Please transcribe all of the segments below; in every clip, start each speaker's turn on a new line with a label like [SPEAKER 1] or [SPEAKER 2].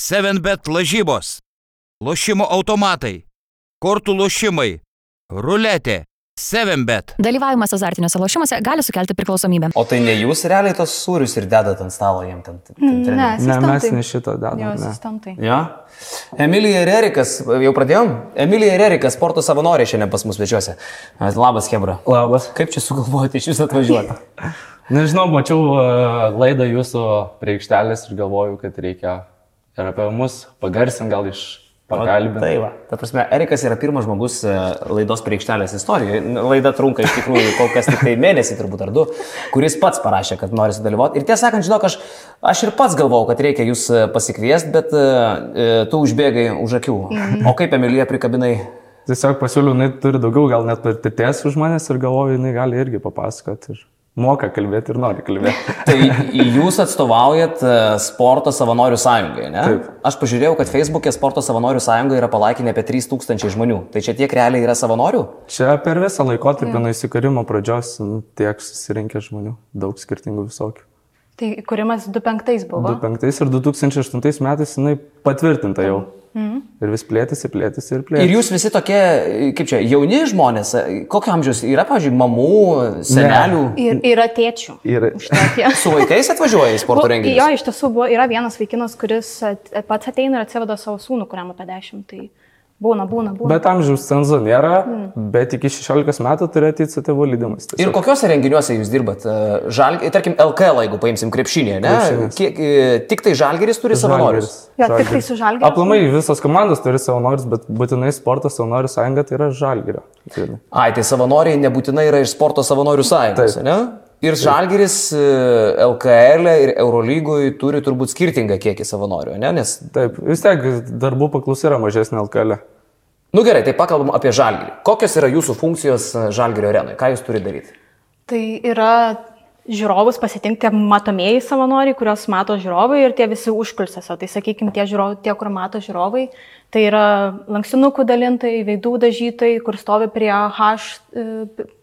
[SPEAKER 1] 7bet lažybos, lošimo automatai, kortų lošimai, ruletė, 7bet.
[SPEAKER 2] Dalyvavimas azartiniuose lošimuose gali sukelti priklausomybę.
[SPEAKER 3] O tai ne jūs realiai tos sūrius ir dedat ant stalo jiem ten. ten- ten
[SPEAKER 4] Ne,
[SPEAKER 3] treneriui?
[SPEAKER 4] sistem
[SPEAKER 5] Ne, mes
[SPEAKER 4] taip.
[SPEAKER 5] ne šito
[SPEAKER 4] Jo,
[SPEAKER 5] dedam. Ne.
[SPEAKER 4] sistemtai.
[SPEAKER 3] Jo. Emilija ir Erikas, jau pradėjom? Emilija ir Erikas, sporto savanorė šiandien pas mus svečiuose. E, Labas, Hebra.
[SPEAKER 6] Labas.
[SPEAKER 3] Kaip čia sugalvojate iš jūsų atvažiuoti?
[SPEAKER 6] Nežinau, mačiau e, laidą jūsų prie aikštelės ir galvoju, kad reikia ir apie mus pagarsinti, gal iš pagalbinti.
[SPEAKER 3] Tai va. Ta prasme, Erikas yra pirmas žmogus e, laidos priekštelės istorijoje. N- Laida trunka iš tikrųjų kol kas tik tai mėnesį, turbūt ar du, kuris pats parašė, kad nori sudalyvauti. Ir tiesą sakant, žinok, aš, aš ir pats galvojau, kad reikia jūs e, pasikviest, bet e, e, tu užbėgai už akių. O kaip Emilija prikabinai?
[SPEAKER 5] Tiesiog pasiūliau, jinai turi daugiau gal net patirties už manęs ir galvoju, jinai gali irgi papasakoti. Ir moka kalbėti ir nori kalbėti.
[SPEAKER 3] Tai jūs atstovaujat e, sporto savanorių sąjungai, ne?
[SPEAKER 5] Taip.
[SPEAKER 3] Aš pažiūrėjau, kad Facebook'e sporto savanorių sąjunga yra palaikinę apie 3000 žmonių. Tai čia tiek realiai yra savanorių?
[SPEAKER 5] Čia per visą laikotarpį nuo įsikūrimo pradžios nu, tiek susirinkė žmonių, daug skirtingų visokių.
[SPEAKER 4] Tai kūrimas 2.5 buvo.
[SPEAKER 5] 2005 ir 2008 metais jinai patvirtinta jau.
[SPEAKER 3] Mhm.
[SPEAKER 5] Ir vis plėtėsi, plėtėsi ir plėtėsi.
[SPEAKER 3] Ir jūs visi tokie, e, kaip čia, jauni žmonės, e, kokio amžiaus yra, pavyzdžiui, mamų, senelių, ne.
[SPEAKER 4] Ir yra tėčių.
[SPEAKER 5] Ir
[SPEAKER 4] Tokie.
[SPEAKER 3] su vaikais atvažiuoja į sporto
[SPEAKER 4] Bu- Jo,
[SPEAKER 3] renginius.
[SPEAKER 4] iš tiesų buvo, yra vienas vaikinas, kuris at, pats ateina ir atsiveda savo sūnų, kuriam apie 10. Tai būna, būna, būna.
[SPEAKER 5] Bet amžiaus cenzo nėra,
[SPEAKER 4] Hmm.
[SPEAKER 5] bet iki 16 metų turi ateiti su tėvo lydimas.
[SPEAKER 3] Ir
[SPEAKER 5] tiesiog.
[SPEAKER 3] kokiuose renginiuose jūs dirbat? E, Žal... Tarkim, LKL, jeigu paimsim krepšinį, ne?
[SPEAKER 5] Krepšinis.
[SPEAKER 3] Kiek, e, tik tai žalgeris turi savanorius.
[SPEAKER 5] Žalgiris.
[SPEAKER 4] Jo, tik tai
[SPEAKER 5] Žalgiris.
[SPEAKER 4] su žalgiu.
[SPEAKER 5] Aplamai visos komandos turi savanorius, bet būtinai sporto savanorių sąjunga tai yra žalgerio. Tai-
[SPEAKER 3] Ai, tai savanoriai nebūtinai yra iš sporto savanorių sąjungos,
[SPEAKER 5] Taip.
[SPEAKER 3] ne? Ir žalgeris e, LKL ir Eurolygui turi turbūt skirtingą kiekį savanorių, ne? Nes,
[SPEAKER 5] Taip, vis tiek darbų paklausa yra mažesnė LKL. E.
[SPEAKER 3] nu gerai, tai pakalbam apie žalgerį. Kokios yra jūsų funkcijos e, žalgerio arenai? Ką jūs turite daryti?
[SPEAKER 4] Tai yra žiūrovus pasitinkti matomieji savanoriai, kuriuos mato žiūrovai ir tie visi užkulsiuose. Tai sakykime, tie, žiūrovai, tie, kur mato žiūrovai, tai yra lankstinukų dalintai, veidų dažytai, kur stovi prie H e,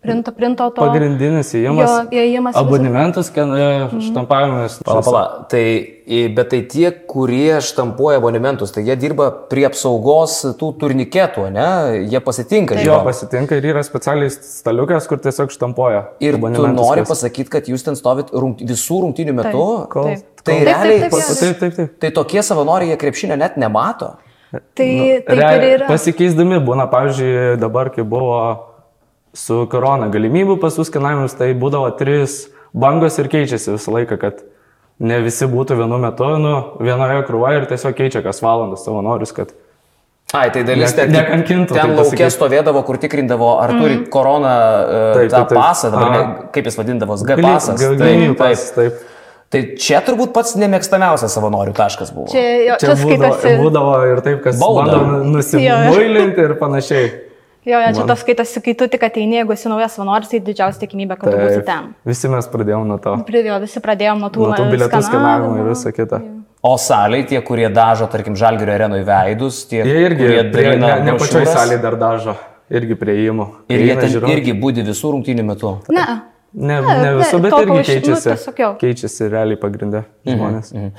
[SPEAKER 4] printo, printo to.
[SPEAKER 5] Pagrindinis
[SPEAKER 4] Jo,
[SPEAKER 5] įėjimas.
[SPEAKER 4] įėjimas Mhm. visas.
[SPEAKER 5] Abonementus, ken- e, štampavimas.
[SPEAKER 3] Pala, pala. Tai, i, bet tai tie, kurie štampuoja abonementus, tai jie dirba prie apsaugos tų turniketų, ne? Jie pasitinka.
[SPEAKER 5] Jo, pasitinka ir yra specialiai staliukas, kur tiesiog štampuoja.
[SPEAKER 3] Ir tu
[SPEAKER 5] abonementus
[SPEAKER 3] nori
[SPEAKER 5] kas-
[SPEAKER 3] pasakyti, kad jūs ten stovit rungt, visų rungtynių metu.
[SPEAKER 4] Taip,
[SPEAKER 5] Kol-
[SPEAKER 4] taip.
[SPEAKER 3] Tai
[SPEAKER 4] Taip, taip,
[SPEAKER 3] realiai
[SPEAKER 4] taip,
[SPEAKER 3] pas-
[SPEAKER 4] jo.
[SPEAKER 5] Taip, taip, taip.
[SPEAKER 3] Tai tokie savanoriai jie krepšinio net nemato.
[SPEAKER 4] Tai,
[SPEAKER 5] Nu,
[SPEAKER 4] taip ir
[SPEAKER 5] realiai
[SPEAKER 4] yra.
[SPEAKER 5] Pasikeisdami būna, pavyzdžiui, dabar, kai buvo su korona galimybių pasus skanavimus, tai būdavo trys bangos ir keičiasi visą laiką, kad ne visi būtų vienu metu, nu, vienoje krūvoje ir tiesiog keičia kas valandas savanorius, kad
[SPEAKER 3] Ai, tai dalis
[SPEAKER 5] Ne-
[SPEAKER 3] ten,
[SPEAKER 5] nekankintų,
[SPEAKER 3] ten
[SPEAKER 5] taip
[SPEAKER 3] laukia
[SPEAKER 5] pasakyt.
[SPEAKER 3] stovėdavo, kur tikrindavo, ar turi
[SPEAKER 4] Mhm.
[SPEAKER 3] koroną e, tą
[SPEAKER 5] Taip, taip, taip.
[SPEAKER 3] pasą, dabar,
[SPEAKER 5] Aha.
[SPEAKER 3] ne- kaip jis vadindavos, G
[SPEAKER 5] Gali-
[SPEAKER 3] pasas.
[SPEAKER 5] gal- galimybių pasas, taip.
[SPEAKER 3] Tai čia turbūt pats nemėgstamiausias savanorių taškas buvo.
[SPEAKER 4] Čia, jo, čia,
[SPEAKER 5] Čia
[SPEAKER 4] čia
[SPEAKER 5] būdavo,
[SPEAKER 4] skaitasi.
[SPEAKER 5] būdavo ir taip, kas
[SPEAKER 3] Baudą.
[SPEAKER 5] bando nu- nusimuilinti ir panašiai.
[SPEAKER 4] Jo, jo, čia
[SPEAKER 5] Man-
[SPEAKER 4] tas skaitasi, kai tu tik ateini, jeigu esi naujas savanoris, tai didžiausia tikimybė, kad tu būsi ten.
[SPEAKER 5] Tai Visi mes pradėjome nuo to.
[SPEAKER 4] Pridėjo, visi pradėjom nuo tų,
[SPEAKER 5] Nuo tų bilietų skanavimo ir
[SPEAKER 4] skanavimo.
[SPEAKER 5] viso kito.
[SPEAKER 3] O saliai, tie, kurie dažo, tarkim, žalgerio arenui veidus, tie,
[SPEAKER 5] Jie irgi,
[SPEAKER 3] kurie
[SPEAKER 5] prie, ne,
[SPEAKER 3] dalina
[SPEAKER 5] ne pačioj
[SPEAKER 3] brošiūras.
[SPEAKER 5] salėje dar dažo, irgi prieėjimo.
[SPEAKER 3] Ir jie ten irgi būdi visų rungtynių metu.
[SPEAKER 4] Ne,
[SPEAKER 5] Ne,
[SPEAKER 4] Ne,
[SPEAKER 5] ne
[SPEAKER 4] ne,
[SPEAKER 5] visų, bet
[SPEAKER 4] tol, kol
[SPEAKER 5] irgi
[SPEAKER 4] iš- nu,
[SPEAKER 5] keičiasi.
[SPEAKER 4] tiesiog jo.
[SPEAKER 5] Keičiasi realiai pagrindę žmonės. Mhm,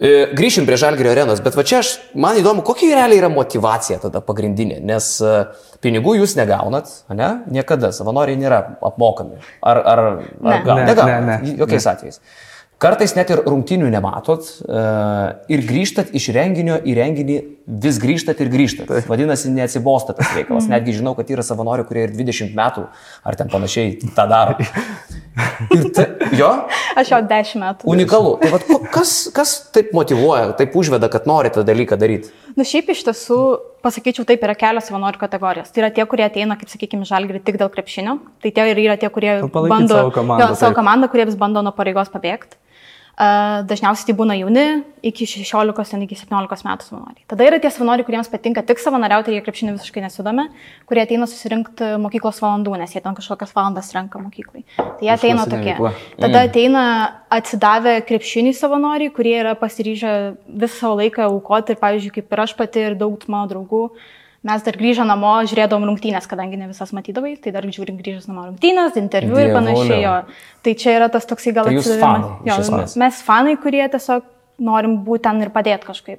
[SPEAKER 3] E, Grįšim prie žalgerio arenos, bet va čia aš, man įdomu, kokia realiai yra motivacija tada pagrindinė, nes e, pinigų jūs negaunat, ne? Niekada, savanoriai nėra apmokami. Ar, ar, ar
[SPEAKER 4] Ne.
[SPEAKER 3] gal,
[SPEAKER 5] Ne,
[SPEAKER 3] negaunat,
[SPEAKER 5] ne, ne.
[SPEAKER 3] jokiais atvejais. Kartais net ir rungtynių nematot e, ir grįžtat iš renginio į renginį, vis grįžtat ir grįžtat. Taip. Vadinasi, neatsibosta tas reikalas. Netgi žinau, kad yra savanorių, kurie ir 20 metų ar ten panašiai tą daro. Ir ta, jo,
[SPEAKER 4] aš jau dešimt metų.
[SPEAKER 3] unikalu. Tai vat, ko- kas, kas taip motivuoja, taip užveda, kad nori tą dalyką daryti?
[SPEAKER 4] Na šiaip iš tiesų, pasakyčiau, taip yra kelios savanorių kategorijos. Tai yra tie, kurie ateina, kaip sakykime, žalgri tik dėl krepšinio. Tai tie ir yra tie, kurie
[SPEAKER 5] Nu, palaikyt
[SPEAKER 4] bando
[SPEAKER 5] savo komandą,
[SPEAKER 4] jo, savo
[SPEAKER 5] taip.
[SPEAKER 4] komandą, kurie vis bando nuo pareigos pabėgti. Uh, dažniausiai tai būna jauni, iki 16, ten iki 17 metų savanoriai. Tada yra tie savanoriai, kuriems patinka tik savanoriauti ir jie krepšinį visiškai nesidomi, kurie ateina susirinkti mokyklos valandų, nes jie ten kažkokias valandas renka mokyklai. Tai jie ateina
[SPEAKER 5] Užklasinė
[SPEAKER 4] tokie.
[SPEAKER 5] veikla.
[SPEAKER 4] Tada ateina atsidavę krepšinį savanoriai, kurie yra pasiryžę visą savo laiką aukoti ir, pavyzdžiui, kaip ir aš pati ir daug mano draugų, mes dar grįžę namo, žiūrėdavom rungtynės, kadangi ne visas matydavai, tai dar žiūrim grįžęs namo rungtynės, interviu ir
[SPEAKER 3] Dievuliau.
[SPEAKER 4] panašiai. jo. Tai čia yra tas toksai gal
[SPEAKER 3] Tai jūs
[SPEAKER 4] atsidavimas.
[SPEAKER 3] fanai, iš esmės.
[SPEAKER 4] mes fanai, kurie tiesiog norim būti ten ir padėti kažkaip.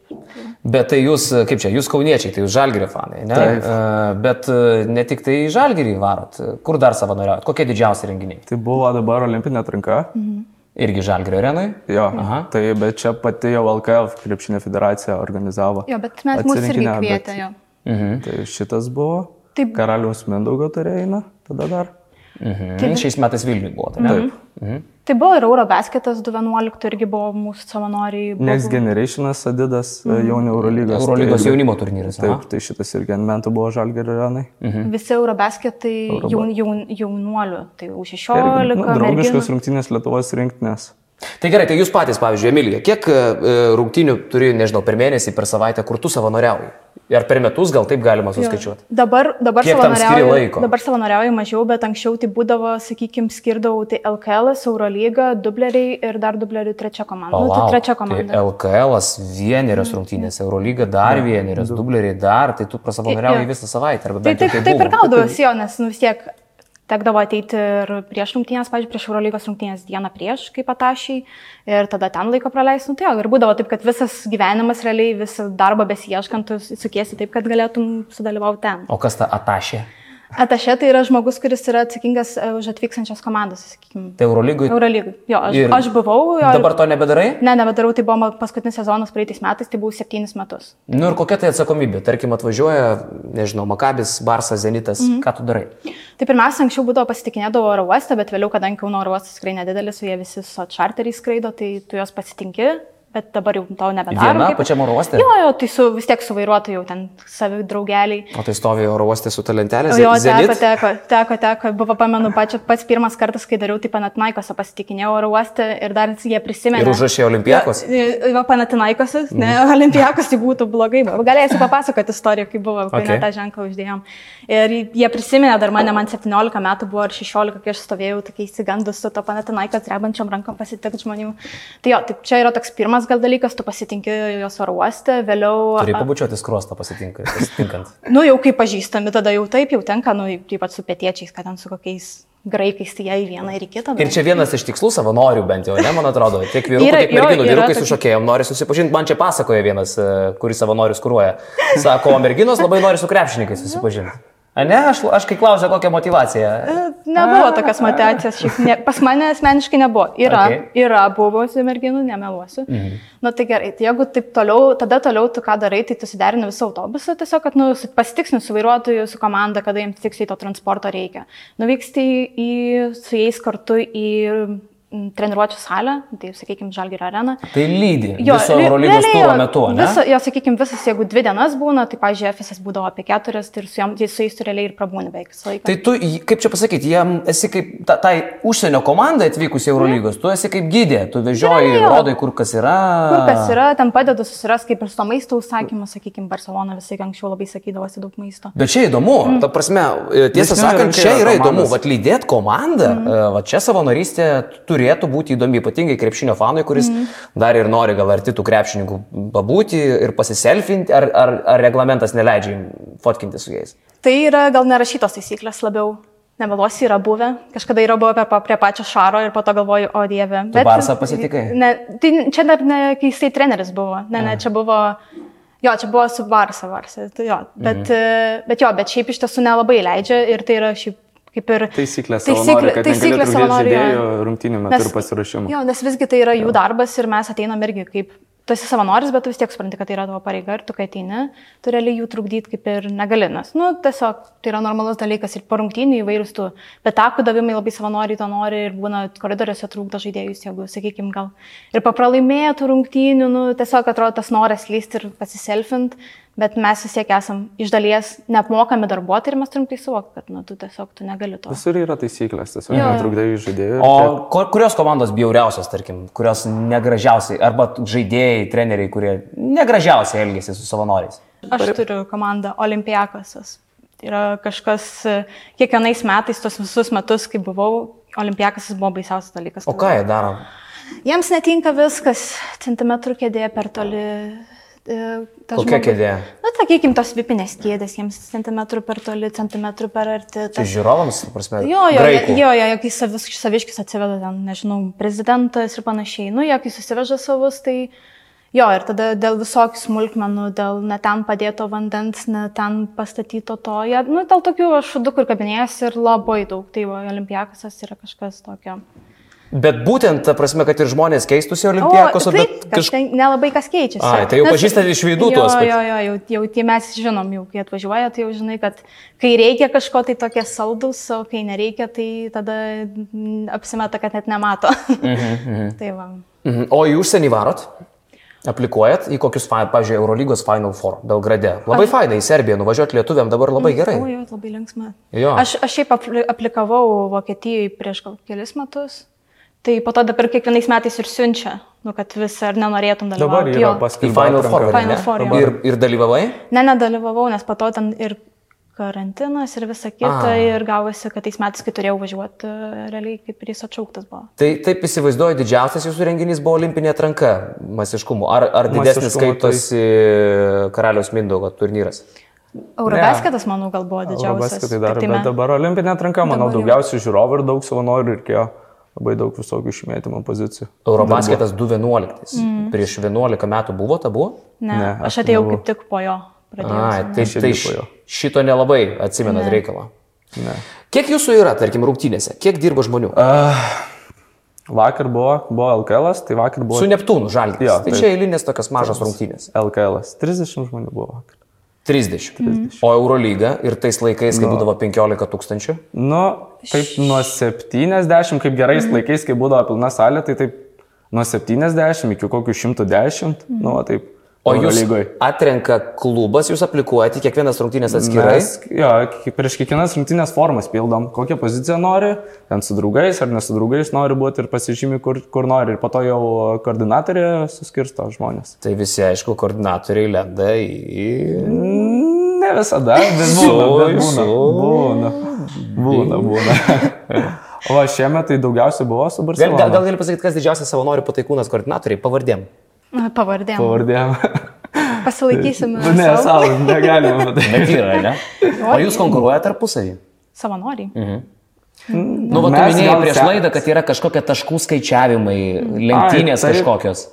[SPEAKER 3] Bet tai jūs, e, kaip čia, jūs kauniečiai, tai jūs žalgerio fanai, ne?
[SPEAKER 5] Taip.
[SPEAKER 3] E, Bet e, ne tik tai žalgerį varot, kur dar savanoriaujat, kokie didžiausi renginiai?
[SPEAKER 5] Tai buvo dabar olimpinė atranka.
[SPEAKER 4] Mhm.
[SPEAKER 3] Irgi žalgerio arenai?
[SPEAKER 5] Jo,
[SPEAKER 3] Aha.
[SPEAKER 5] tai bet čia pati jau LKF krepšinio federacija organizavo.
[SPEAKER 4] Jo, bet mes mūsų irgi
[SPEAKER 5] Atsirinkinę, bet-
[SPEAKER 4] kvietė. Jo.
[SPEAKER 3] Mhm.
[SPEAKER 5] Tai šitas buvo.
[SPEAKER 4] Taip.
[SPEAKER 5] Karaliaus Mindaugo turėjina tada dar.
[SPEAKER 3] Mhm. Šiais metais Vilniui buvo, tai ne?
[SPEAKER 5] Taip.
[SPEAKER 4] Tai buvo ir Eurobasketas 2.11 irgi buvo mūsų savanoriai. buvo-
[SPEAKER 5] Next Generationas Adidas,
[SPEAKER 4] Mhm.
[SPEAKER 5] mm. jaunių Eurolygos.
[SPEAKER 3] Eurolygos
[SPEAKER 5] tai irgi-
[SPEAKER 3] jaunimo turnyras. aha.
[SPEAKER 5] Taip, tai šitas irgi ant mentų buvo Žalgerio Renai.
[SPEAKER 4] Visi
[SPEAKER 3] mhm.
[SPEAKER 4] Eurobasketai tai jaun, jaun, jaunuolių, tai
[SPEAKER 3] nu,
[SPEAKER 4] U16.
[SPEAKER 5] Nu, Draugiškos
[SPEAKER 4] merginų.
[SPEAKER 5] rungtynės Lietuvos rinktinės.
[SPEAKER 3] Tai gerai, tai jūs patys, pavyzdžiui, Emilija, kiek e, rungtynių turi, nežinau, per mėnesį, per savaitę, kur tu savanoriauji? Ar per metus gal taip galima suskaičiuoti?
[SPEAKER 4] Dabar, dabar,
[SPEAKER 3] Kiek tam skiri laiko?
[SPEAKER 4] savanoriauju, dabar savanoriauju mažiau, bet anksčiau tai būdavo, sakykime, skirdavau tai LKL, Eurolyga, dubleriai ir dar dublerių trečia komanda. Nu, tai trečia komanda. Mm.
[SPEAKER 3] Tai LKL vienerios rungtynės, Eurolyga dar vienerios, dubleriai dar, tai tu
[SPEAKER 4] Tai,
[SPEAKER 3] prasavanoriauji
[SPEAKER 4] jo.
[SPEAKER 3] visą savaitę. arba
[SPEAKER 4] Tai
[SPEAKER 3] bent jau
[SPEAKER 4] taip, taip ir
[SPEAKER 3] buvo.
[SPEAKER 4] gaudavosi jo, nes nu, vis tiek tekdavo ateiti ir prieš rungtynės, pavyzdžiui, prieš Eurolygos rungtynės dieną prieš, kaip atašiai, ir tada ten laiko praleistum. Tai jo, ir būdavo taip, kad visas gyvenimas realiai, visą darbą besieškant, tu sukiesi taip, kad galėtum sudalyvauti ten.
[SPEAKER 3] O kas ta atašė?
[SPEAKER 4] Atašė tai yra žmogus, kuris yra atsakingas e, už atvykstančias komandas, sakykime.
[SPEAKER 3] Tai Eurolygui.
[SPEAKER 4] Eurolygui. Jo, aš,
[SPEAKER 3] Ir
[SPEAKER 4] aš buvau. Jo,
[SPEAKER 3] Dabar to nebedarai?
[SPEAKER 4] Ne, nebedarau, tai buvo ma- paskutinis sezonas praeitais metais, tai buvau septynis metus.
[SPEAKER 3] Nu ir kokia tai atsakomybė? Tarkim, atvažiuoja, nežinau, Makabis, Barsas, Zenitas,
[SPEAKER 4] Mhm.
[SPEAKER 3] mm -hmm. ką tu darai?
[SPEAKER 4] Tai pirmiausia, anksčiau būdavo pasitikinėdavo oro uostą, bet vėliau, kadangi Kauno oro uostas tikrai nedidelis, su jie visi su charteriai skraido, tai tu juos pasitinki, bet dabar jau tau nebedaro.
[SPEAKER 3] Viena pačiam oro uoste?
[SPEAKER 4] Jo, jo, tai su, vis tiek su vairuotoju, jau ten savi draugeliai.
[SPEAKER 3] O tai stovi oro uostė su talentelė,
[SPEAKER 4] Jo, teko,
[SPEAKER 3] Zenit.
[SPEAKER 4] teko, teko, teko, buvo, pamenu, pačia, pats pirmas kartas, kai dariau, tai Panatinaikose pasitikinėjau oro uostą ir dar jie prisiminė.
[SPEAKER 3] Ir užrašė Olimpiakos.
[SPEAKER 4] Va, Panatinaikose, ne, Olimpiakos tai būtų blogai. buvo. Galėsiu papasakoti istoriją, kaip buvo, kai
[SPEAKER 3] Okay.
[SPEAKER 4] okay. net tą ženklą uždėjom. Ir jie prisiminė dar mane, man 17 metų buvo ar 16, kai aš stovėjau tokiai įsigandus su to Panatinaikos drebančiam rankom pasitikti žmonių. Tai jo, tai čia yra toks pirmas gal dalykas, tu pasitinki jos oro uostą, vėliau...
[SPEAKER 3] Turi pabučiuoti skrostą pasitinka- pasitinkant.
[SPEAKER 4] Nu, jau kaip pažįstami, tada jau taip, jau tenka, nu, ypač su pietiečiais, kad ten su kokiais graikais, tai jie į vieną ir į kitą.
[SPEAKER 3] Ir čia vienas iš tikslų savanorių bent jau, ne, man atrodo, tiek vyrų,
[SPEAKER 4] Yra-
[SPEAKER 3] tiek
[SPEAKER 4] jo,
[SPEAKER 3] merginų,
[SPEAKER 4] yra
[SPEAKER 3] vyrukai
[SPEAKER 4] tokių.
[SPEAKER 3] su šokėjom nori susipažinti, man čia pasakoja vienas, e, kuris savanorius kūruoja. Sako, o merginos labai nori su krepšininkais susipažinti. A ne, aš, aš kai klausiau, kokia motivacija.
[SPEAKER 4] Nebuvo tokios motivacijos, šiaip ne, pas mane asmeniškai nebuvo. Yra,
[SPEAKER 3] Okay.
[SPEAKER 4] okay. yra buvusių merginų, nemeluosiu. Mhm. Na tai gerai, tai jeigu taip toliau, tada toliau tu ką darai, tai tu suderini visą autobusą, tiesiog, kad nu, su- pasitiksni su vairuotoju, su komanda, kada jiems tiksliai to transporto reikia. Nuvyksti į, su jais kartu į mm, treniruočio salę, tai sakykime, Žalgirio areną.
[SPEAKER 3] Tai lydi
[SPEAKER 4] Jo,
[SPEAKER 3] viso
[SPEAKER 4] re-
[SPEAKER 3] Eurolygos
[SPEAKER 4] realiai
[SPEAKER 3] turo
[SPEAKER 4] jo,
[SPEAKER 3] metu, ne?
[SPEAKER 4] Viso, jo, sakykime, visas, jeigu dvi dienas būna, tai, pažiūrėjau, FSS būdavo apie keturias, tai ir su, jom, tai su jais tu realiai ir prabūni beveik visą laiką.
[SPEAKER 3] Tai tu, jį- kaip čia pasakyti, jam esi kaip ta- tai užsienio komandai atvykusi Eurolygos, tu esi kaip gydė, tu vežioji,
[SPEAKER 4] Jo, jo.
[SPEAKER 3] rodai, kur kas yra.
[SPEAKER 4] Kur kas yra, ten padeda susiras, kaip ir su to maisto užsakymu, sakykime, Barcelona visai anksčiau labai sakydavosi daug maisto.
[SPEAKER 3] Bet čia įdomu, mm. ta prasme, e, tiesą
[SPEAKER 5] Nes nėra
[SPEAKER 3] sakant,
[SPEAKER 5] čia
[SPEAKER 3] čia yra įdomu,
[SPEAKER 5] komandos.
[SPEAKER 3] vad lydėt komandą, mm. va čia savanorystė turėtų būti įdomi, ypatingai krepšinio fanui, kuris mm. dar ir nori gal arti tų krepšininkų pabūti ir pasiselfinti, ar, ar, ar reglamentas neleidžia jum fotkinti su jais.
[SPEAKER 4] Tai yra gal nerašytos taisyklės labiau. Nemeluosi, yra buvę. Kažkada yra buvę per, prie pačio Šaro ir po to galvoju, o dieve.
[SPEAKER 3] Barsą pasitikai?
[SPEAKER 4] Ne, tai čia dar ne, kai jisai treneris buvo. Ne, ne, čia buvo. Jo, čia buvo su Barsa, Barsa. Tai jo, bet, mhm. bet jo, bet šiaip iš tiesų nelabai leidžia ir tai yra šiaip kaip ir... Taisyklė-
[SPEAKER 5] Taisyklės savanorių, kad negali
[SPEAKER 4] taisyklės
[SPEAKER 5] trukdyti
[SPEAKER 4] savanorių, jo.
[SPEAKER 5] žaidėjų rungtynių metu ir pasiruošimų.
[SPEAKER 4] Jo, nes visgi tai yra jų darbas ir mes ateinam irgi kaip, tu esi savanoris, bet tu vis tiek supranti, kad tai yra tavo pareiga ir tu kai ateini, tu realiai jų trukdyti kaip ir negali, nes, nu, tiesiog tai yra normalus dalykas ir parungtinių įvairius tų petakų davimai labai savanoriai to nori ir būna koridoriuose trūkdo žaidėjus, jeigu, sakykime, gal ir papralaimėtų rungtinių, nu, tiesiog atrodo tas noras lysti ir pasiselfint, bet mes vis tiek esam iš dalies neapmokami darbuotojai ir mes turim tai suvokti, kad, nu, tu tiesiog tu negali to.
[SPEAKER 5] Visur yra taisyklės, tiesiog netrukdai žaidėjų.
[SPEAKER 3] O E, ko- kurios komandos bjauriausios, tarkim, kurios negražiausiai, arba žaidėjai, treneriai, kurie negražiausiai elgesi su savanoriais?
[SPEAKER 4] Aš turiu komandą Olimpiakosas. Yra kažkas, e, kiekvienais metais, tos visus metus, kai buvau, Olimpiakosas buvo baisiausias dalykas.
[SPEAKER 3] O ką jie daro?
[SPEAKER 4] Jiems netinka viskas, centimetrų kėdė per toli. e,
[SPEAKER 3] Kokia kėdė?
[SPEAKER 4] Na, sakykime, tos vipinės kėdės, jiems centimetrų per toli, centimetrų per arti.
[SPEAKER 3] Tai
[SPEAKER 4] Tas...
[SPEAKER 3] žiūrovams, ta prasme,
[SPEAKER 4] Jo, jo,
[SPEAKER 3] graikų.
[SPEAKER 4] jo, jo, jo, kai savis, saviškis atsiveda ten, nežinau, prezidentas ir panašiai, nu, jie kai susiveža savus, tai Jo, ir tada dėl visokių smulkmenų, dėl netam padėto vandens, netam pastatyto to, jie, nu, dėl tokių aš šudų, kur kabinėjęs ir labai daug, tai va, olimpiakasas yra kažkas tokio.
[SPEAKER 3] Bet būtent, ta prasme, kad ir žmonės keistųsi olimpijakos,
[SPEAKER 4] o, taip,
[SPEAKER 3] bet
[SPEAKER 4] kaž...
[SPEAKER 3] kažkaip...
[SPEAKER 4] ten nelabai kas keičiasi.
[SPEAKER 3] Ai, tai jau
[SPEAKER 4] Nes-
[SPEAKER 3] pažįstate iš veidų
[SPEAKER 4] jo,
[SPEAKER 3] tuos, bet-
[SPEAKER 4] Jo, jo, jau, jau tie mes žinom, jau kai atvažiuoja, tai jau žinai, kad kai reikia kažko, tai tokie saldus, o kai nereikia, tai tada mm, apsimeta, kad net nemato.
[SPEAKER 3] Mhm,
[SPEAKER 4] tai va.
[SPEAKER 3] O į užsienį varot? Aplikuojat į kokius, fa- pavyzdžiui, Eurolygos Final Four Belgrade. Labai fainai į Serbiją nuvažiuoti lietuviam dabar labai gerai.
[SPEAKER 4] O, jo, labai linksma.
[SPEAKER 3] Jo.
[SPEAKER 4] Aš, aš šiaip apli- aplikavau Vokietijai prieš gal kelis metus. Tai po to dabar kiekvienais metais ir siunčia, nu, kad vis ar nenorėtum
[SPEAKER 5] Dabar
[SPEAKER 4] dalyvauti.
[SPEAKER 5] yra
[SPEAKER 4] Jo.
[SPEAKER 3] Į
[SPEAKER 5] paskelbta
[SPEAKER 3] Final Four.
[SPEAKER 5] atranka.
[SPEAKER 3] ar ne?
[SPEAKER 4] Final Four, jo.
[SPEAKER 3] ir, ir dalyvavai?
[SPEAKER 4] Ne, nedalyvavau, nes po to ten ir karantinas, ir visa kita,
[SPEAKER 3] Ah.
[SPEAKER 4] ah. ir gavosi, kad tais metais, kai turėjau važiuoti, realiai kaip ir jis atšauktas buvo.
[SPEAKER 3] Tai taip įsivaizduoju, didžiausias jūsų renginys buvo olimpinė atranka masiškumu. Ar, ar didesnis
[SPEAKER 5] Masiškumu, tai-
[SPEAKER 3] skaitosi karaliaus Mindaugo turnyras?
[SPEAKER 4] Eurobasketas, manau, gal buvo didžiausias. tai
[SPEAKER 5] Eurobasketai tai dar,
[SPEAKER 4] kitame.
[SPEAKER 5] bet dabar olimpinė atranka,
[SPEAKER 4] Dabar
[SPEAKER 5] manau,
[SPEAKER 4] jau.
[SPEAKER 5] daugiausiai žiūrovų ir daug savanorių reikėjo labai daug visokių išmėtimo pozicijų.
[SPEAKER 3] Eurobasketas 2.11.
[SPEAKER 4] Mm.
[SPEAKER 3] Prieš 11 metų buvo, ta buvo?
[SPEAKER 4] Ne,
[SPEAKER 5] Ne,
[SPEAKER 4] ne,
[SPEAKER 5] aš
[SPEAKER 4] aš atėjau
[SPEAKER 5] nebuvau.
[SPEAKER 4] kaip tik po jo. Pradėjau.
[SPEAKER 3] Ai,
[SPEAKER 4] savo-
[SPEAKER 3] tai,
[SPEAKER 5] Aš irgi
[SPEAKER 3] tai
[SPEAKER 5] po
[SPEAKER 3] š-
[SPEAKER 5] jo.
[SPEAKER 3] šito nelabai atsimenat reikalą.
[SPEAKER 5] Ne.
[SPEAKER 3] Kiek jūsų yra, tarkim, rungtynėse? Kiek dirba žmonių?
[SPEAKER 5] Vakar buvo, buvo LKL, tai vakar buvo
[SPEAKER 3] Su Neptūnu žalgiu.
[SPEAKER 5] Jo,
[SPEAKER 3] Tai
[SPEAKER 5] taip.
[SPEAKER 3] čia eilinės tokias mažas rungtynės.
[SPEAKER 5] LKL. 30 žmonių buvo vakar.
[SPEAKER 3] 30. 30. O Eurolyga ir tais laikais, kai būdavo 15 tūkstančių.
[SPEAKER 5] Nu, taip nuo 70, kaip gerais
[SPEAKER 4] Mhm.
[SPEAKER 5] laikais, kai būdavo pilna salė, tai taip nuo 70 iki kokių 110,
[SPEAKER 4] Mhm.
[SPEAKER 5] nu, va taip.
[SPEAKER 3] O jūs
[SPEAKER 5] Eurolygoj.
[SPEAKER 3] atrenka klubas, jūs aplikuojate į kiekvienas rungtynės atskirai.
[SPEAKER 5] Mes, jo, ki- prieš kiekvienas rungtynės formas pildom, kokią poziciją nori, ten su draugais ar ne su draugais nori būti ir pasižymi, kur, kur nori. Ir po to jau koordinatorė suskirsto žmonės.
[SPEAKER 3] Tai visi, aišku, koordinatoriai lenda į...
[SPEAKER 5] Ne visada, bet būna. bet
[SPEAKER 3] Su-
[SPEAKER 5] Būna, būna. Būna, būna. O šiemet tai daugiausiai buvo su
[SPEAKER 3] Gal, gal, gal
[SPEAKER 5] Barcelona.
[SPEAKER 3] gali pasakyti, kas didžiausias savanorių pataikūnas koordinatoriai? Pavardėm.
[SPEAKER 4] Pavardėm.
[SPEAKER 5] Pavardėm.
[SPEAKER 4] Pasilaikysim.
[SPEAKER 5] Nu, Ne,
[SPEAKER 4] savo-
[SPEAKER 5] savo, negalima. tai. bet-
[SPEAKER 3] Bet yra, ne? O jūs konkuruojate tarpusavį?
[SPEAKER 4] Savanoriai.
[SPEAKER 3] Nu, va, tu
[SPEAKER 5] Mes
[SPEAKER 3] minėjai
[SPEAKER 5] gal
[SPEAKER 3] prieš
[SPEAKER 5] se-
[SPEAKER 3] laidą, kad yra kažkokie taškų skaičiavimai, lenktynės
[SPEAKER 5] Ai, taip.
[SPEAKER 3] kažkokios.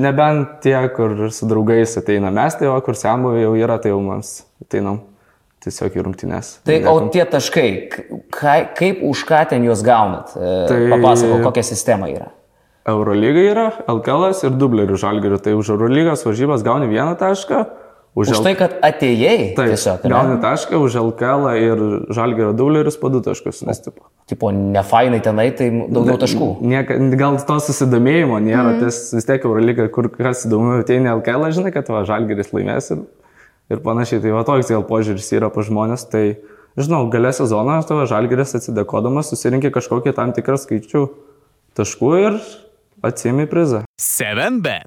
[SPEAKER 5] Nebent tie, kur su draugais ateina mes, tai o kur senbuviai jau yra, tai jau mums ateinam tiesiog į rungtynes.
[SPEAKER 3] Tai, o
[SPEAKER 5] Liekam.
[SPEAKER 3] tie taškai, ka, kaip už ką ten juos gaunat? Tai...
[SPEAKER 5] Tai-
[SPEAKER 3] Papasakok, kokia sistema yra.
[SPEAKER 5] Eurolyga yra, LKL ir dublerių žalgerių. Tai už Eurolygos varžybas gauni vieną tašką, už,
[SPEAKER 3] Už
[SPEAKER 5] L-
[SPEAKER 3] tai, kad atėjai
[SPEAKER 5] taip,
[SPEAKER 3] tiesiog, ne?
[SPEAKER 5] gauni tašką, už LKL ir žalgerio dublerius po du taškus. Nes, tipo,
[SPEAKER 3] Tipo, ne fainai tenai, tai daugiau taškų.
[SPEAKER 5] nieka, gal to susidomėjimo nėra, mm. tas vis tiek Eurolyga, kur kas įdomu, tai ne LKL, žinai, kad va, žalgeris laimės ir, ir panašiai. Tai va toks gal požiūris yra pa žmonės. Tai, žinau, gale sezono tai tavo žalgeris atsidėkodamas susirinkė kažkokį tam tikrą skaičių taškų ir atsimi prizą.
[SPEAKER 7] 7bet.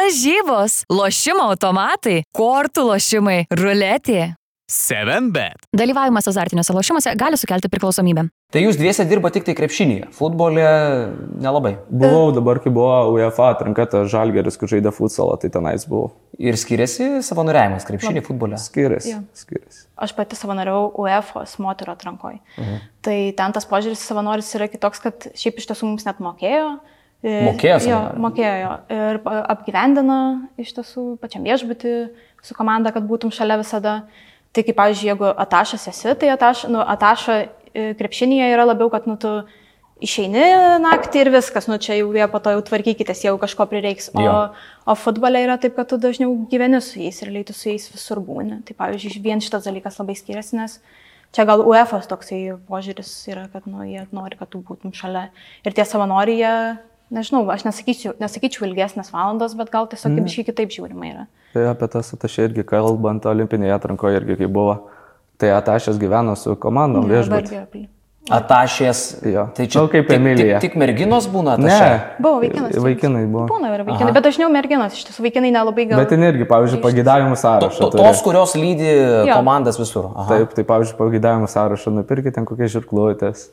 [SPEAKER 2] Lažybos, lošimo automatai, kortų lošimai, ruletė.
[SPEAKER 7] 7bet.
[SPEAKER 2] Dalyvavimas azartiniuose lošimuose gali sukelti priklausomybę.
[SPEAKER 3] Tai jūs dviese dirba tik tai krepšinėje, futbole nelabai.
[SPEAKER 5] Buvau dabar, kai buvo UEFA atranka, ta žalgeris, kur žaidė futsalą, tai tenais buvau.
[SPEAKER 3] Ir skiriasi savanoriavimas krepšinį futbole.
[SPEAKER 5] Skiriasi.
[SPEAKER 4] Jo.
[SPEAKER 5] Skiriasi.
[SPEAKER 4] Aš pati savanoriau UEFOS moterų atrankoj. Mhm. Tai ten tas požiūris į savanorius yra kitoks, kad šiaip iš tiesų mums net mokėjo. Ir-
[SPEAKER 3] Mokėjo
[SPEAKER 4] Jo,
[SPEAKER 3] savanoriai?
[SPEAKER 4] mokėjo. jo. Ir pa- apgyvendina iš tiesų pačiam viešbutį su komanda, kad būtum šalia visada. Tai kaip, pavyzdžiui, jeigu atašas esi, tai ataša, nu, ataša e, krepšinėje yra labiau, kad nu, tu išeini naktį ir viskas, nu čia jau jie po to jau tvarkykitės, jeigu kažko prireiks. O,
[SPEAKER 3] Jo.
[SPEAKER 4] o futbole yra taip, kad tu dažniau gyveni su jais ir leitų su jais visur būni. Tai pavyzdžiui, vien šitas dalykas labai skiriasi, nes čia gal UEFA toksai požiūris yra, kad nu, jie nori, kad tu būtum šalia. Ir tie savanoriai, jie, nežinau, aš nesakyčiau, nesakyčiau ilgesnės valandos, bet gal tiesiog
[SPEAKER 5] Mhm.
[SPEAKER 4] mm. šiek kitaip žiūrima yra.
[SPEAKER 5] Tai apie tas atašė irgi kalbant, olimpinėje atrankoje irgi kai buvo. Tai atašės gyveno su komandom viešbutį.
[SPEAKER 4] Dabar gi-
[SPEAKER 3] Atašės.
[SPEAKER 5] Jo.
[SPEAKER 3] Tai čia
[SPEAKER 5] Nu, kaip
[SPEAKER 3] tik-
[SPEAKER 5] Emilija.
[SPEAKER 3] Tik, tik merginos būna
[SPEAKER 5] Ne.
[SPEAKER 3] atašė.
[SPEAKER 4] Buvo vaikinas.
[SPEAKER 5] Vaikinai buvo.
[SPEAKER 4] Būna ir vaikinai, bet dažniau merginos, iš tiesų vaikinai nelabai gal.
[SPEAKER 5] Bet ten irgi, pavyzdžiui, pagėdavimų
[SPEAKER 3] To,
[SPEAKER 5] sąrašą.
[SPEAKER 3] to,
[SPEAKER 5] turi.
[SPEAKER 3] tos, kurios lydi
[SPEAKER 4] Jo.
[SPEAKER 3] komandas visur. Aha.
[SPEAKER 5] Taip, tai pavyzdžiui, pagėdavimų sąrašą nupirkit ten kokie žirkluotės.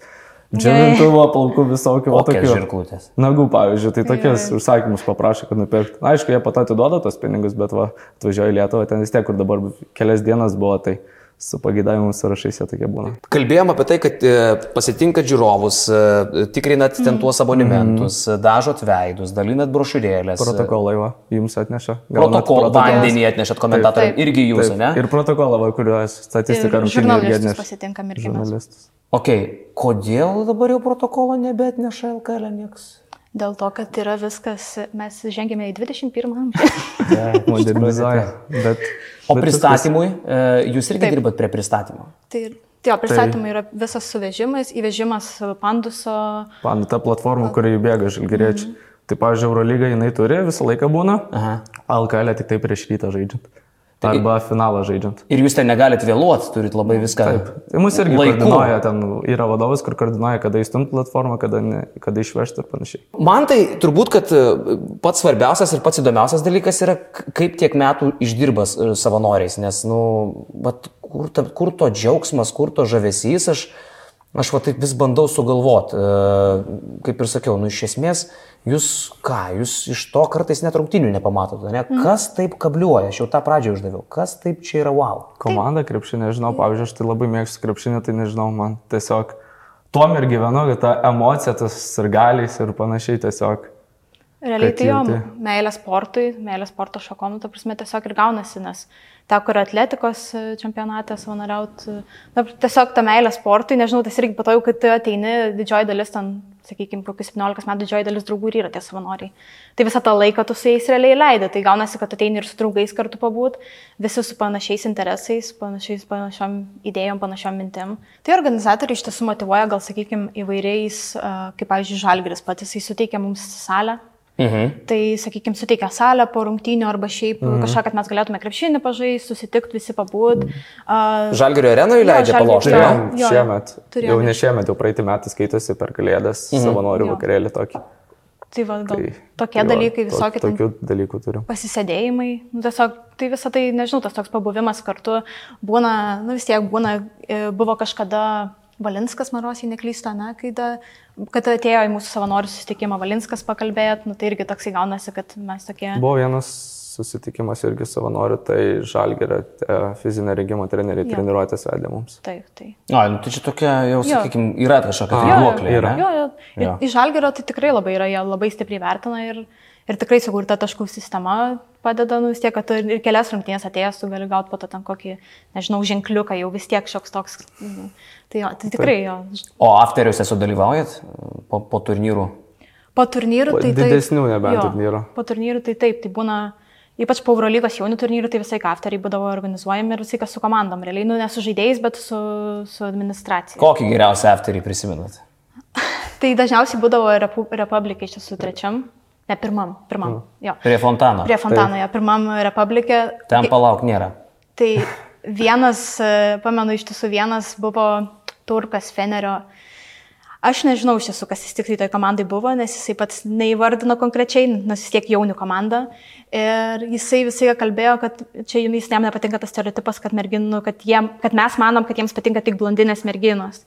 [SPEAKER 5] Džiavintuvo plaukų visokių, o
[SPEAKER 3] Kokios
[SPEAKER 5] tokių.
[SPEAKER 3] žirklutės.
[SPEAKER 5] Nagų, pavyzdžiui, tai tokius užsakymus paprašė, kad nupirktų. Na, Aišku, jie pato atiduoda tos pinigus, bet va, atvažiuoja į Lietuvą, ten vis tiek, kur dabar kelias dienas buvo, tai su pageidavimu sąrašais jie tokie būna.
[SPEAKER 3] Kalbėjom apie tai, kad e, pasitinkat žiūrovus, e, tikrinat
[SPEAKER 5] Mm.
[SPEAKER 3] ten tuos abonementus, e, dažot veidus, dalinat brošiūrėlės.
[SPEAKER 5] Mm-hmm. Protokolą jo jums atneša. Gaunat
[SPEAKER 3] Protokolą
[SPEAKER 5] protokolą.
[SPEAKER 3] vandenį atnešat komentatoriui.
[SPEAKER 4] Taip.
[SPEAKER 3] Irgi jūs,
[SPEAKER 5] Taip,
[SPEAKER 3] ne?
[SPEAKER 5] Ir protokolą, va, kuriuo statistika
[SPEAKER 4] Ir
[SPEAKER 5] rungtynių
[SPEAKER 4] žurnalistus
[SPEAKER 5] atneš.
[SPEAKER 4] pasitinkam irgi mes.
[SPEAKER 5] Žurnalistus.
[SPEAKER 3] Ok, kodėl dabar jau protokolo nebeatneša LKL nieks?
[SPEAKER 4] Dėl to, kad yra viskas, mes žengėme į 21 amžių.
[SPEAKER 5] Modernizuoja. Bet,
[SPEAKER 3] tai- O
[SPEAKER 5] bet viskas-
[SPEAKER 3] pristatymui, e, jūs irgi
[SPEAKER 4] Taip.
[SPEAKER 3] dirbat prie pristatymo.
[SPEAKER 4] Tai jo, pristatymai yra visas suvežimas, įvežimas panduso.
[SPEAKER 5] Pan, ta platforma, kurioje bėga žalgeriečiai.
[SPEAKER 4] Mhm.
[SPEAKER 5] Tai, pavyzdžiui, Eurolyga jinai turi, visą laiką būna.
[SPEAKER 3] Aha.
[SPEAKER 5] Alkalė tik tai prieš rytą žaidžiant. Arba finalą žaidžiant.
[SPEAKER 3] Ir jūs ten negalite vėluoti, turit labai viską. Taip.
[SPEAKER 5] Tai mus irgi
[SPEAKER 3] Laiku.
[SPEAKER 5] koordinuoja, ten yra vadovas, kur koordinuoja, kada įstumti platformą, kada, ne, kada išvežti ir panašiai.
[SPEAKER 3] Man tai turbūt, kad e, pats svarbiausias ir pats įdomiausias dalykas yra, k- kaip tiek metų išdirbas e, savanoriais, nes, nu, vat, kur, ta, kur to džiaugsmas, kur to žavesys, aš, aš va taip vis bandau sugalvoti. Kaip ir sakiau, nu, iš esmės, jūs ką, jūs iš to kartais net rungtinių nepamatote, ne?
[SPEAKER 4] Mhm.
[SPEAKER 3] Kas taip kabliuoja, aš jau tą pradžią uždaviau, kas taip čia yra wow.
[SPEAKER 5] Komanda krepšinė, nežinau, pavyzdžiui, aš tai labai mėgstu krepšinį, tai nežinau, man tiesiog tuom ir gyvenu, kad ta emocija, tas ir galiais ir panašiai tiesiog.
[SPEAKER 4] Realiai
[SPEAKER 5] Kad
[SPEAKER 4] tai jo,
[SPEAKER 5] jauti.
[SPEAKER 4] meilė sportui, meilė sporto šakom, nu, ta prasme tiesiog ir gaunasi, nes teko ir atletikos e, čempionate savanoriauti. Na, tiesiog ta meilė sportui, nežinau, tas irgi patojau, kad tu ateini, didžioji dalis ten, sakykime, kokius 17 metų didžioji dalis draugų ir yra tie savanoriai. Tai visą tą laiką tu su jais realiai leidai, tai gaunasi, kad tu ateini ir su draugais kartu pabūt, visi su panašiais interesais, panašiais, panašiom idėjom, panašiom mintim. Tai organizatoriai iš tiesų motivuoja, gal, sakykime, įvairiais, e, kaip, pavyzdžiui, Žalgris pats, jisai suteikia mums salę
[SPEAKER 3] Mhm.
[SPEAKER 4] tai, sakykime, suteikia salę po rungtynių arba šiaip mm -hmm. kažką, kad mes galėtume krepšinį pažaisti, susitikti visi pabūt. Uh,
[SPEAKER 3] Žalgerio arenoje
[SPEAKER 4] Jo,
[SPEAKER 3] leidžia
[SPEAKER 4] Žalgirio
[SPEAKER 3] palošti.
[SPEAKER 4] Jo,
[SPEAKER 3] ne?
[SPEAKER 5] Turėjom
[SPEAKER 4] jo, jo.
[SPEAKER 5] šiemet, jau
[SPEAKER 4] Turėjom. Mhm.
[SPEAKER 5] ne šiemet, jau praeitį metą skaitosi per kalėdas mm. savanorių
[SPEAKER 4] Jo.
[SPEAKER 5] vakarėlį tokį.
[SPEAKER 4] tai va, gal
[SPEAKER 5] Tai,
[SPEAKER 4] tokie
[SPEAKER 5] jo,
[SPEAKER 4] dalykai,
[SPEAKER 5] to-
[SPEAKER 4] visokie ten
[SPEAKER 5] Tokių dalykų turiu.
[SPEAKER 4] pasisėdėjimai, nu, tiesiog tai visą tai, nežinau, tas toks pabuvimas kartu būna, nu vis tiek būna, e, buvo kažkada Valinskas, Marosiai neklysta, ne, kai da, kad atėjo į mūsų savanorių susitikimą Valinskas pakalbėt, nu tai irgi toks įgaunasi, kad mes tokie...
[SPEAKER 5] Buvo vienas susitikimas irgi savanorių, tai žalgerio fizinio rengimo treneriai
[SPEAKER 4] Jo.
[SPEAKER 5] treniruotės vedė mums.
[SPEAKER 4] Taip, tai.
[SPEAKER 3] Ai, nu, tai čia tokia, jau,
[SPEAKER 4] Jo.
[SPEAKER 3] sakykime, yra kažkokia tai
[SPEAKER 5] Jo,
[SPEAKER 3] duoklė.
[SPEAKER 5] yra.
[SPEAKER 3] ne?
[SPEAKER 4] Jo, jo. Ir
[SPEAKER 3] Jo.
[SPEAKER 4] iš Žalgerio tai tikrai labai yra, jie labai stipriai vertina ir, ir tikrai sukurta taškų sistema padeda, nu vis tiek, kad tu ir ir kelias rungtynės atėjęs, tu gali gauti po to ten kokį, nežinau, ženkliuką, jau vis tiek šioks toks. mm, Tai jo, tai tikrai jo.
[SPEAKER 3] O afteriuose sudalyvaujat po, po turnyrų?
[SPEAKER 4] Po turnyrų
[SPEAKER 5] Po
[SPEAKER 4] tai taip.
[SPEAKER 5] didesnių nebent
[SPEAKER 4] jo,
[SPEAKER 5] turnyrų.
[SPEAKER 4] Po turnyrų tai taip, tai būna. Ypač po Eurolygos jaunų turnyrų, tai visai kafteriai būdavo organizuojami ir visai kas su komandom, realiai, nu ne su žaidėjais, bet su, su administracija.
[SPEAKER 3] Kokį geriausią afterį prisimenat?
[SPEAKER 4] Tai dažniausiai būdavo repu, Republikai, iš tiesų trečiam, ne pirmam, pirmam,
[SPEAKER 5] Mhm.
[SPEAKER 4] jo.
[SPEAKER 5] Tai
[SPEAKER 3] Prie fontano.
[SPEAKER 4] Prie Fontanoje, pirmam Republikė.
[SPEAKER 3] Ten palauk nėra.
[SPEAKER 4] Tai vienas, e, pamenu, iš tiesų vienas buvo Turkas Fenerio. Aš nežinau iš tiesų, kas jis tikrai toje komandai buvo, nes jisai pats neįvardino konkrečiai, nors jis tiek jaunių komanda. Ir jisai visai kalbėjo, kad čia jums jam nepatinka tas stereotipas, kad, merginų, nu, kad, jiem, kad mes manom, kad jiems patinka tik blondinės merginos.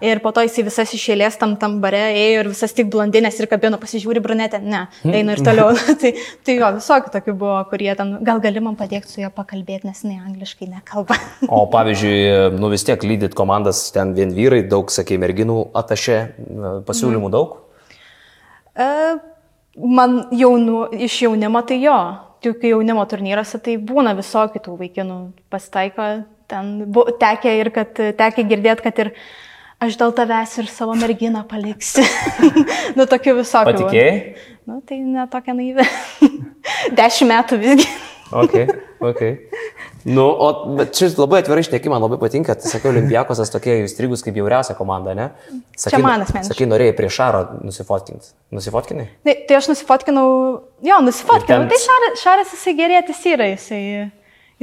[SPEAKER 4] Ir po to jisai visas iš eilės tam tam bare ėjo ir visas tik blondinės ir kabino, pasižiūri brunetę, ne, einu ir toliau. tai, tai jo, visokių tokių buvo, kurie ten, gal gali man padėti su juo pakalbėti, nes jinai angliškai nekalba.
[SPEAKER 3] O pavyzdžiui, nu vis tiek lydit komandas ten vien vyrai, daug, sakė, merginų atašė, pasiūlymų
[SPEAKER 4] Mhm.
[SPEAKER 3] daug.
[SPEAKER 4] E, Man jaunu, iš jaunimo tai jo, juk jaunimo turnyruose tai būna visokių tų vaikinų pasitaiko, ten bu, tekia ir kad tekia girdėti, kad ir aš dėl tavęs ir savo merginą paliksiu. nu, tokių visokių. va.
[SPEAKER 3] Patikėjai?
[SPEAKER 4] Nu, tai netokia naivi. Dešimt metų visgi.
[SPEAKER 3] Ok, ok. Nu, o bet čia labai atvirai išneki, man labai patinka, tai sakiau, Olimpijakosas tokie įstrigus kaip jauriausia komanda, ne? Sakai,
[SPEAKER 4] Čia man asmeniškai.
[SPEAKER 3] Sakai, norėjai prie Šaro nusifotkinti. Nusifotkinai?
[SPEAKER 4] Tai, tai aš nusifotkinau, jo,
[SPEAKER 3] Ir
[SPEAKER 4] nusifotkinau.
[SPEAKER 3] ten-
[SPEAKER 4] Tai šaras, šaras jisai gerėtis yra, jisai,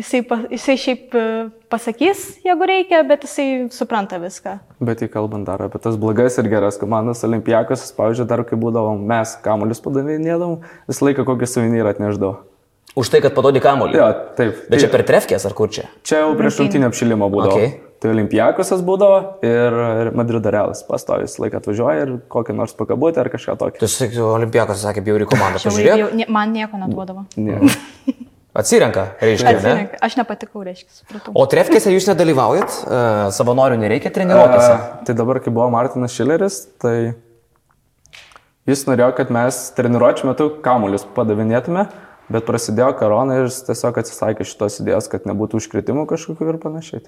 [SPEAKER 4] jisai, pa- jisai šiaip e, pasakys, jeigu reikia, bet jisai supranta viską.
[SPEAKER 5] Bet jei kalbant dar apie tas blogas ir geras komandas, olimpijakos, pavyzdžiui, dar kai būdavom mes kamuolius padavinėdavom, visą laiką kokį suvenyrą atneždavo.
[SPEAKER 3] Už tai, kad padodi kamuolį.
[SPEAKER 5] Jo, taip.
[SPEAKER 3] Bet čia
[SPEAKER 5] tai,
[SPEAKER 3] per trefkės ar kur čia?
[SPEAKER 5] čia jau prieš rungtinį apšilimą būdavo.
[SPEAKER 3] Ok.
[SPEAKER 5] Tai olimpijakosas būdavo ir, ir Madrido realas pastovis laiką atvažiuoja ir kokį nors pakabutį ar kažką tokį.
[SPEAKER 3] Tu sakai, Olimpijakosas sakė, bjauri komanda,
[SPEAKER 4] Žiauriai
[SPEAKER 3] pažiūrėk.
[SPEAKER 4] bjau- nie- Man nieko neduodavo.
[SPEAKER 5] Ne.
[SPEAKER 3] Atsirenka, reiškia, ne?
[SPEAKER 4] Atsirenka. Aš nepatikau, reiškia, supratau.
[SPEAKER 3] O trefkėse jūs nedalyvaujat, e, savanorių nereikia treniruotėse.
[SPEAKER 5] A, Tai dabar, kai buvo Martinas Šileris, tai jis norėjo, kad mes treniruočių metu kamuolius padavinėtume, bet prasidėjo korona ir jis tiesiog atsisakė šitos idėjos, kad nebūtų užkritimų kažkokiu ir panašiai.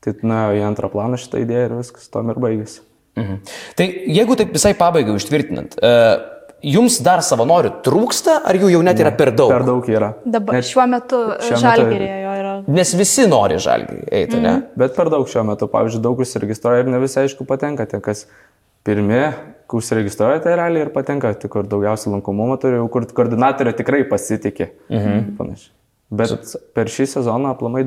[SPEAKER 5] Tai- Tai nuėjo į antrą planą šitą idėją ir viskas tom ir baigėsi.
[SPEAKER 3] Mhm. Tai jeigu taip visai pabaigai užtvirtinant, e, jums dar savanorių trūksta, ar jų jau net yra per daug?
[SPEAKER 5] Per daug yra.
[SPEAKER 4] Dabar
[SPEAKER 5] Net-
[SPEAKER 4] šiuo metu
[SPEAKER 5] šiuo metu-
[SPEAKER 4] žalgerėje yra
[SPEAKER 3] Nes visi nori žalgį eiti, ne?
[SPEAKER 5] Bet per daug šiuo metu, pavyzdžiui, daug užsiregistruoja ir ne visai aišku patenka tie, kas pirmie, kur užsiregistruoja, tai realiai ir patenka, tik kur daugiausia lankomumo turi, jau kur koordinatorė tikrai pasitikė. Mhm. Bet per šį sezoną aplamai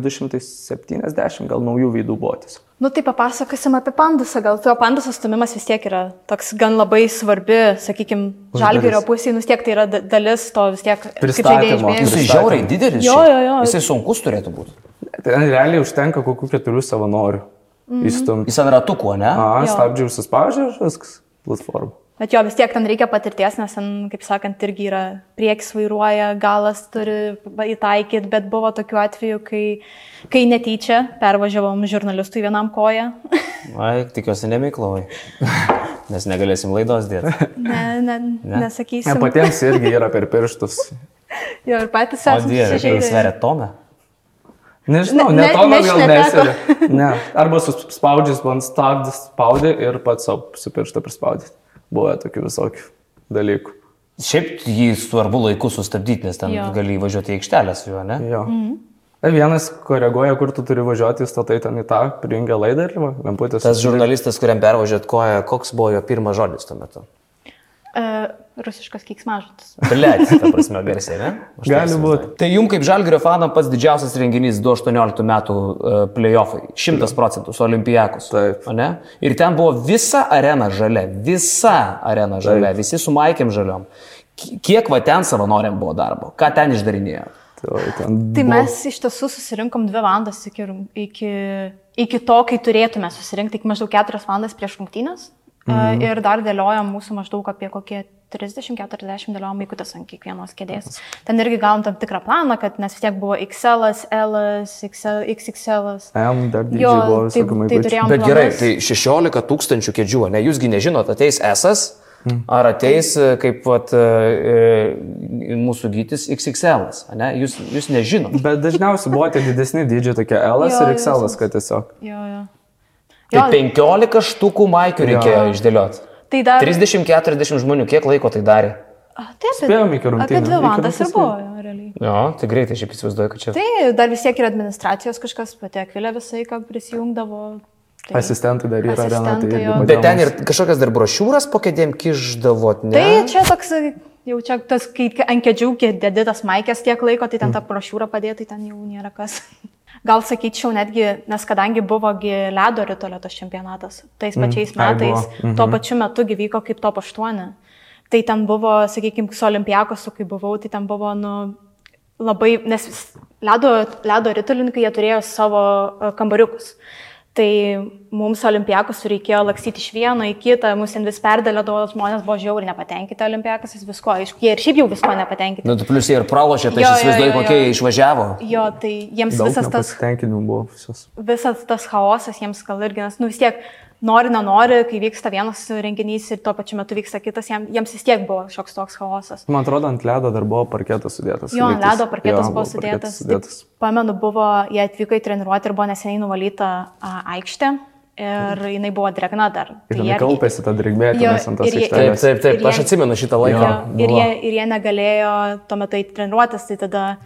[SPEAKER 5] 270 gal naujų veidų buvo tiesiog.
[SPEAKER 4] Nu tai papasakosim apie pandusą, gal tuo pandusas stumimas vis tiek yra toks gan labai svarbi, sakykime, žalgerio pusė, nu vis tiek tai yra da- dalis to vis tiek kaip žaidėjai
[SPEAKER 5] Pristatymo.
[SPEAKER 4] išbėga.
[SPEAKER 3] Jisai žiauriai didelis.
[SPEAKER 4] Jo,
[SPEAKER 3] šiaip.
[SPEAKER 4] jo, jo.
[SPEAKER 3] Jisai sunkus turėtų būti.
[SPEAKER 5] Ten Tai realiai užtenka kokių keturių savanorių mhm. įstumti.
[SPEAKER 3] Jis ant ratukų, ne?
[SPEAKER 5] A,
[SPEAKER 4] Jo.
[SPEAKER 5] stabdžiai užsispaudžia ir viskas, platforma.
[SPEAKER 4] Bet jo vis tiek ten reikia patirties, nes ten, kaip sakant, irgi yra prieks vairuoja, galas turi įtaikyti, bet buvo tokių atvejų, kai, kai netyčia pervažiavom žurnalistui vienam koją.
[SPEAKER 3] Ai, tikiuosi nemiklovai. Nes negalėsim laidos dėti.
[SPEAKER 4] ne, ne, ne.
[SPEAKER 5] Ne,
[SPEAKER 4] nesakysim.
[SPEAKER 5] patiems irgi yra per pirštus.
[SPEAKER 4] Jo, ir patys
[SPEAKER 3] O
[SPEAKER 4] esame
[SPEAKER 3] dieve, kai jis
[SPEAKER 4] susižeidę.
[SPEAKER 3] sveria tomę.
[SPEAKER 5] Nežinau,
[SPEAKER 4] Ne-
[SPEAKER 5] ne,
[SPEAKER 4] ne-
[SPEAKER 5] ne to man gal
[SPEAKER 4] nešnekėto.
[SPEAKER 5] nesėdė. Ne. Arba suspaudžiu ant stabdį, spaudė ir pats savo su pirštą prispaudė. Buvo tokių visokių dalykų.
[SPEAKER 3] Šiaip jį svarbu laiku sustabdyti, nes ten
[SPEAKER 4] Jo.
[SPEAKER 3] gali įvažiuoti į aikštelę su juo, ne?
[SPEAKER 5] Jo.
[SPEAKER 4] Mhm.
[SPEAKER 5] Mm. Vienas koreguoja, kur tu turi važiuoti, statai ten į tą, prijungia laidą ir va, lemputės.
[SPEAKER 3] Tas žurnalistas, kuriam pervažiuot koją, koks buvo jo pirmas žodis tuo metu?
[SPEAKER 4] E, Rusiškas kiksmažutis.
[SPEAKER 3] Blet, ta prasme, garsiai, ne? Aš taip
[SPEAKER 5] Gali
[SPEAKER 3] įsivaizduoju.
[SPEAKER 5] būt.
[SPEAKER 3] Tai jum kaip žalgerio fanam pats didžiausias renginys 2018 metų e, playoffai. 100 procentų su olimpijakus.
[SPEAKER 5] Taip.
[SPEAKER 3] o Ne? Ir ten buvo visa arena žalia. Visa arena žalia. Visi su maikėm žaliom. Ki- Kiek va ten savanoriam buvo darbo? Ką ten išdarinėjo?
[SPEAKER 5] Tai, ten
[SPEAKER 4] Tai
[SPEAKER 5] buvo-
[SPEAKER 4] mes iš tiesų susirinkom dvi valandas iki, rung- iki, iki to, kai turėtume susirinkti, iki maždaug keturias valandas prieš rungtynės.
[SPEAKER 5] Mhm.
[SPEAKER 4] Mm. Ir dar dėliojom mūsų maždaug apie kokie 30-40 dėliojom įkutas ant kiekvienos kėdės. Ten irgi gavom tam tikrą planą, kad nes vis tiek buvo XL, L, XL, XXL.
[SPEAKER 5] M, dar didžiai
[SPEAKER 4] Jo,
[SPEAKER 5] buvo
[SPEAKER 4] tai,
[SPEAKER 5] visokių
[SPEAKER 4] tai
[SPEAKER 5] maikų.
[SPEAKER 4] turėjom.
[SPEAKER 3] Bet gerai,
[SPEAKER 4] planus.
[SPEAKER 3] tai 16 tūkstančių kėdžių, ne, jūsgi nežinot, ateis esas, ar ateis e, kaip vat, e, e, mūsų gytis XXL, as, ne, jūs, jūs nežinot.
[SPEAKER 5] Bet dažniausiai buvo tie didesni dydžiai, tokie L
[SPEAKER 4] Jo,
[SPEAKER 5] ir
[SPEAKER 4] jo,
[SPEAKER 5] XL,
[SPEAKER 4] viskas.
[SPEAKER 5] kad tiesiog.
[SPEAKER 4] Jo, jo.
[SPEAKER 3] Tai
[SPEAKER 4] Jo,
[SPEAKER 3] 15 štukų maikių reikėjo išdėlioti.
[SPEAKER 4] tai dar.
[SPEAKER 3] 30-40 žmonių, kiek laiko tai darė?
[SPEAKER 4] A, tai apie,
[SPEAKER 5] Spėjom iki
[SPEAKER 4] apie
[SPEAKER 5] rungtynių,
[SPEAKER 4] dvi
[SPEAKER 5] iki
[SPEAKER 4] valandas ir
[SPEAKER 5] rungtynių.
[SPEAKER 4] buvo, jo, realiai.
[SPEAKER 3] Jo, tai greitai, šiaip įsivaizduoju, kad čia.
[SPEAKER 4] Tai dar vis tiek ir administracijos kažkas, pati Akvilė visą laiką prisijungdavo. Tai,
[SPEAKER 5] Asistentai dar yra arena, tai
[SPEAKER 4] Asistentai,
[SPEAKER 5] irgi
[SPEAKER 4] jo.
[SPEAKER 5] padėjo
[SPEAKER 3] Bet ten
[SPEAKER 5] mums.
[SPEAKER 3] ir kažkokias dar brošiūras po kėdėm kiždavot, ne?
[SPEAKER 4] tai čia toks, jau čia tas, kai ant kėdžių dėdė tas maikės tiek laiko, tai
[SPEAKER 5] Mm.
[SPEAKER 4] ten tą brošiūrą padėti, tai ten jau nėra kas. Gal sakyčiau netgi, nes kadangi buvo gi ledo ritoletos čempionatas, tais pačiais
[SPEAKER 5] Mm. ai,
[SPEAKER 4] metais,
[SPEAKER 5] buvo. Mhm.
[SPEAKER 4] tuo pačiu metu gyvyko kaip top 8. Tai ten buvo, sakykime, su olimpijakosu, kai buvau, tai ten buvo, nu, labai, nes vis- ledo, ledo ritulininkai jie turėjo savo e, kambariukus. Tai mums olimpijakus reikėjo lakstyti iš vieno į kitą, mus ten vis perdėlėdavo, žmonės buvo žiauriai nepatenkinti olimpijakas, jis visko, aišku, jie ir šiaip jau visko nepatenkinti.
[SPEAKER 3] Nu, tu plius jie ir pralošė, tai aš
[SPEAKER 4] Jo, jo,
[SPEAKER 3] įsivaizduoju,
[SPEAKER 4] jo, jo.
[SPEAKER 3] kokie jie išvažiavo.
[SPEAKER 4] Jo, tai jiems
[SPEAKER 5] Daug
[SPEAKER 4] visas tas
[SPEAKER 5] nepasitenkinimų buvo visos.
[SPEAKER 4] visas tas chaosas jiems gal irgi, nes, nu vis tiek, nori, nenori, kai vyksta vienas renginys ir tuo pačiu metu vyksta kitas, jiem, jiems vis tiek buvo šioks toks chaosas.
[SPEAKER 5] Man atrodo, ant ledo dar buvo parketas sudėtas.
[SPEAKER 4] Jo, ant
[SPEAKER 5] lygtais.
[SPEAKER 4] ledo parketas
[SPEAKER 5] Jo,
[SPEAKER 4] buvo
[SPEAKER 5] parketas
[SPEAKER 4] sudėtas. sudėtas. Pamenu, buvo, jie atvyko į treniruotę ir buvo neseniai nuvalyta a, aikštė ir jinai buvo dregna dar.
[SPEAKER 5] Ir
[SPEAKER 4] Tai
[SPEAKER 5] jinai
[SPEAKER 4] irgi-
[SPEAKER 5] kaupėsi tą drėgmę,
[SPEAKER 4] Jo,
[SPEAKER 5] nes ant tos
[SPEAKER 4] ir jie-
[SPEAKER 3] Taip,
[SPEAKER 5] aikštelės.
[SPEAKER 3] taip, taip,
[SPEAKER 4] Ir
[SPEAKER 3] aš
[SPEAKER 4] jie-
[SPEAKER 3] atsimenu šitą
[SPEAKER 4] Ir,
[SPEAKER 3] laiką.
[SPEAKER 4] jie- ir, jie, ir jie negalėjo tuo metu eiti treniruotis, tai tada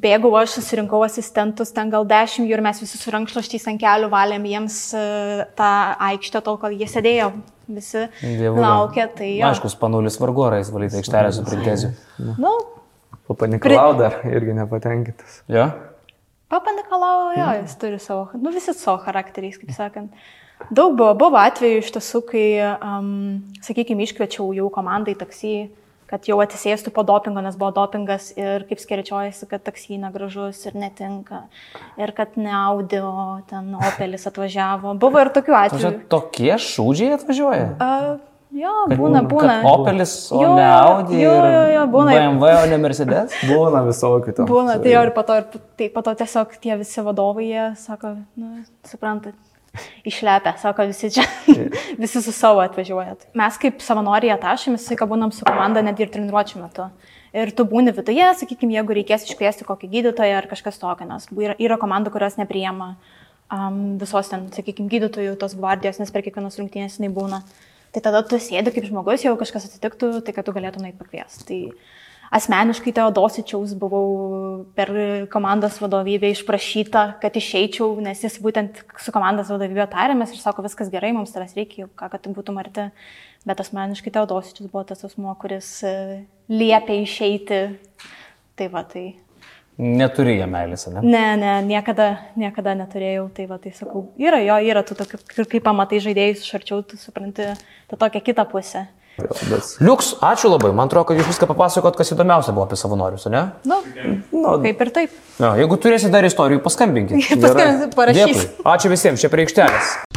[SPEAKER 4] bėgau aš, susirinkau asistentus, ten gal dešimt jų ir mes visi su rankšluoščiais ant kelių valėm jiems e, tą aikštę tol, kol jie sėdėjo. Visi
[SPEAKER 3] Dievulio.
[SPEAKER 4] laukė, tai jo.
[SPEAKER 3] Aišku, spanulis vargorais valyti aikštelę su printeziju.
[SPEAKER 4] Nu,
[SPEAKER 5] Papanikalau dar irgi nepatenkintas.
[SPEAKER 3] Jo?
[SPEAKER 4] Papa Nikolau, jo, jis turi savo, nu visi savo charakteriais, kaip sakant. Daug buvo, buvo atvejų iš tiesų, kai, um, sakykime, iškviečiau jau komandai taksi, kad jau atsisėstų po dopingo, nes buvo dopingas ir kaip skeričiojasi, kad taksi negražus ir netinka. Ir kad ne audio, ten Opelis atvažiavo. Buvo ir tokių
[SPEAKER 3] Čia
[SPEAKER 4] atvejų.
[SPEAKER 3] tokie šūdžiai atvažiuoja.
[SPEAKER 4] Uh, Jo, būna, būna.
[SPEAKER 3] Kad Opelis, o
[SPEAKER 4] Jo,
[SPEAKER 3] ne Audi,
[SPEAKER 4] jo, jo,
[SPEAKER 3] ir
[SPEAKER 4] jo, būna.
[SPEAKER 3] BMW, o ne Mercedes.
[SPEAKER 5] Būna visokių ten.
[SPEAKER 4] Būna, tai jo ir po to, ir p- tai po to tiesiog tie visi vadovai, jie sako, nu, suprantat, išlepia, sako visi čia, visi su savo atvažiuojat. Mes kaip savanoriai atašėm, visą laiką būnam su komanda net ir treniruočio metu. Ir tu būni viduje, sakykime, jeigu reikės iškviesti kokį gydytoją ar kažkas tokio, nes yra, yra komandų, kurios nepriema um, visos ten, sakykime, gydytojų, tos gvardijos, nes per kiekvienas rungtynės jinai būna. Tai tada tu sėdi kaip žmogus, jeigu kažkas atsitiktų, tai kad tu galėtum eiti pakviesti. Tai asmeniškai Teodosičiaus buvau per komandos vadovybę išprašyta, kad išeičiau, nes jis būtent su komandos vadovybė tarėmės ir sako, viskas gerai, mums tavęs reikia, jau ką, kad tu būtum arti. Bet asmeniškai Teodosičius buvo tas asmo, kuris e, liepė išeiti. Tai va, tai
[SPEAKER 3] Neturi jie meilės, ne?
[SPEAKER 4] Ne, ne, niekada, niekada neturėjau, tai va, tai sakau, yra jo, yra tų tokių, kur kai pamatai žaidėjus iš arčiau, tu supranti tą tokią kitą pusę.
[SPEAKER 3] Liuks, ačiū labai. Man atrodo, kad jūs viską papasakot, kas įdomiausia buvo apie savanorius, ne?
[SPEAKER 4] Na, nu, kaip ir taip.
[SPEAKER 3] Na, jeigu turėsite dar istorijų, paskambinkit.
[SPEAKER 4] Paskambinsiu,
[SPEAKER 3] Gerai.
[SPEAKER 4] parašysiu.
[SPEAKER 3] Dėkui. Ačiū visiems, čia prie aikštelės.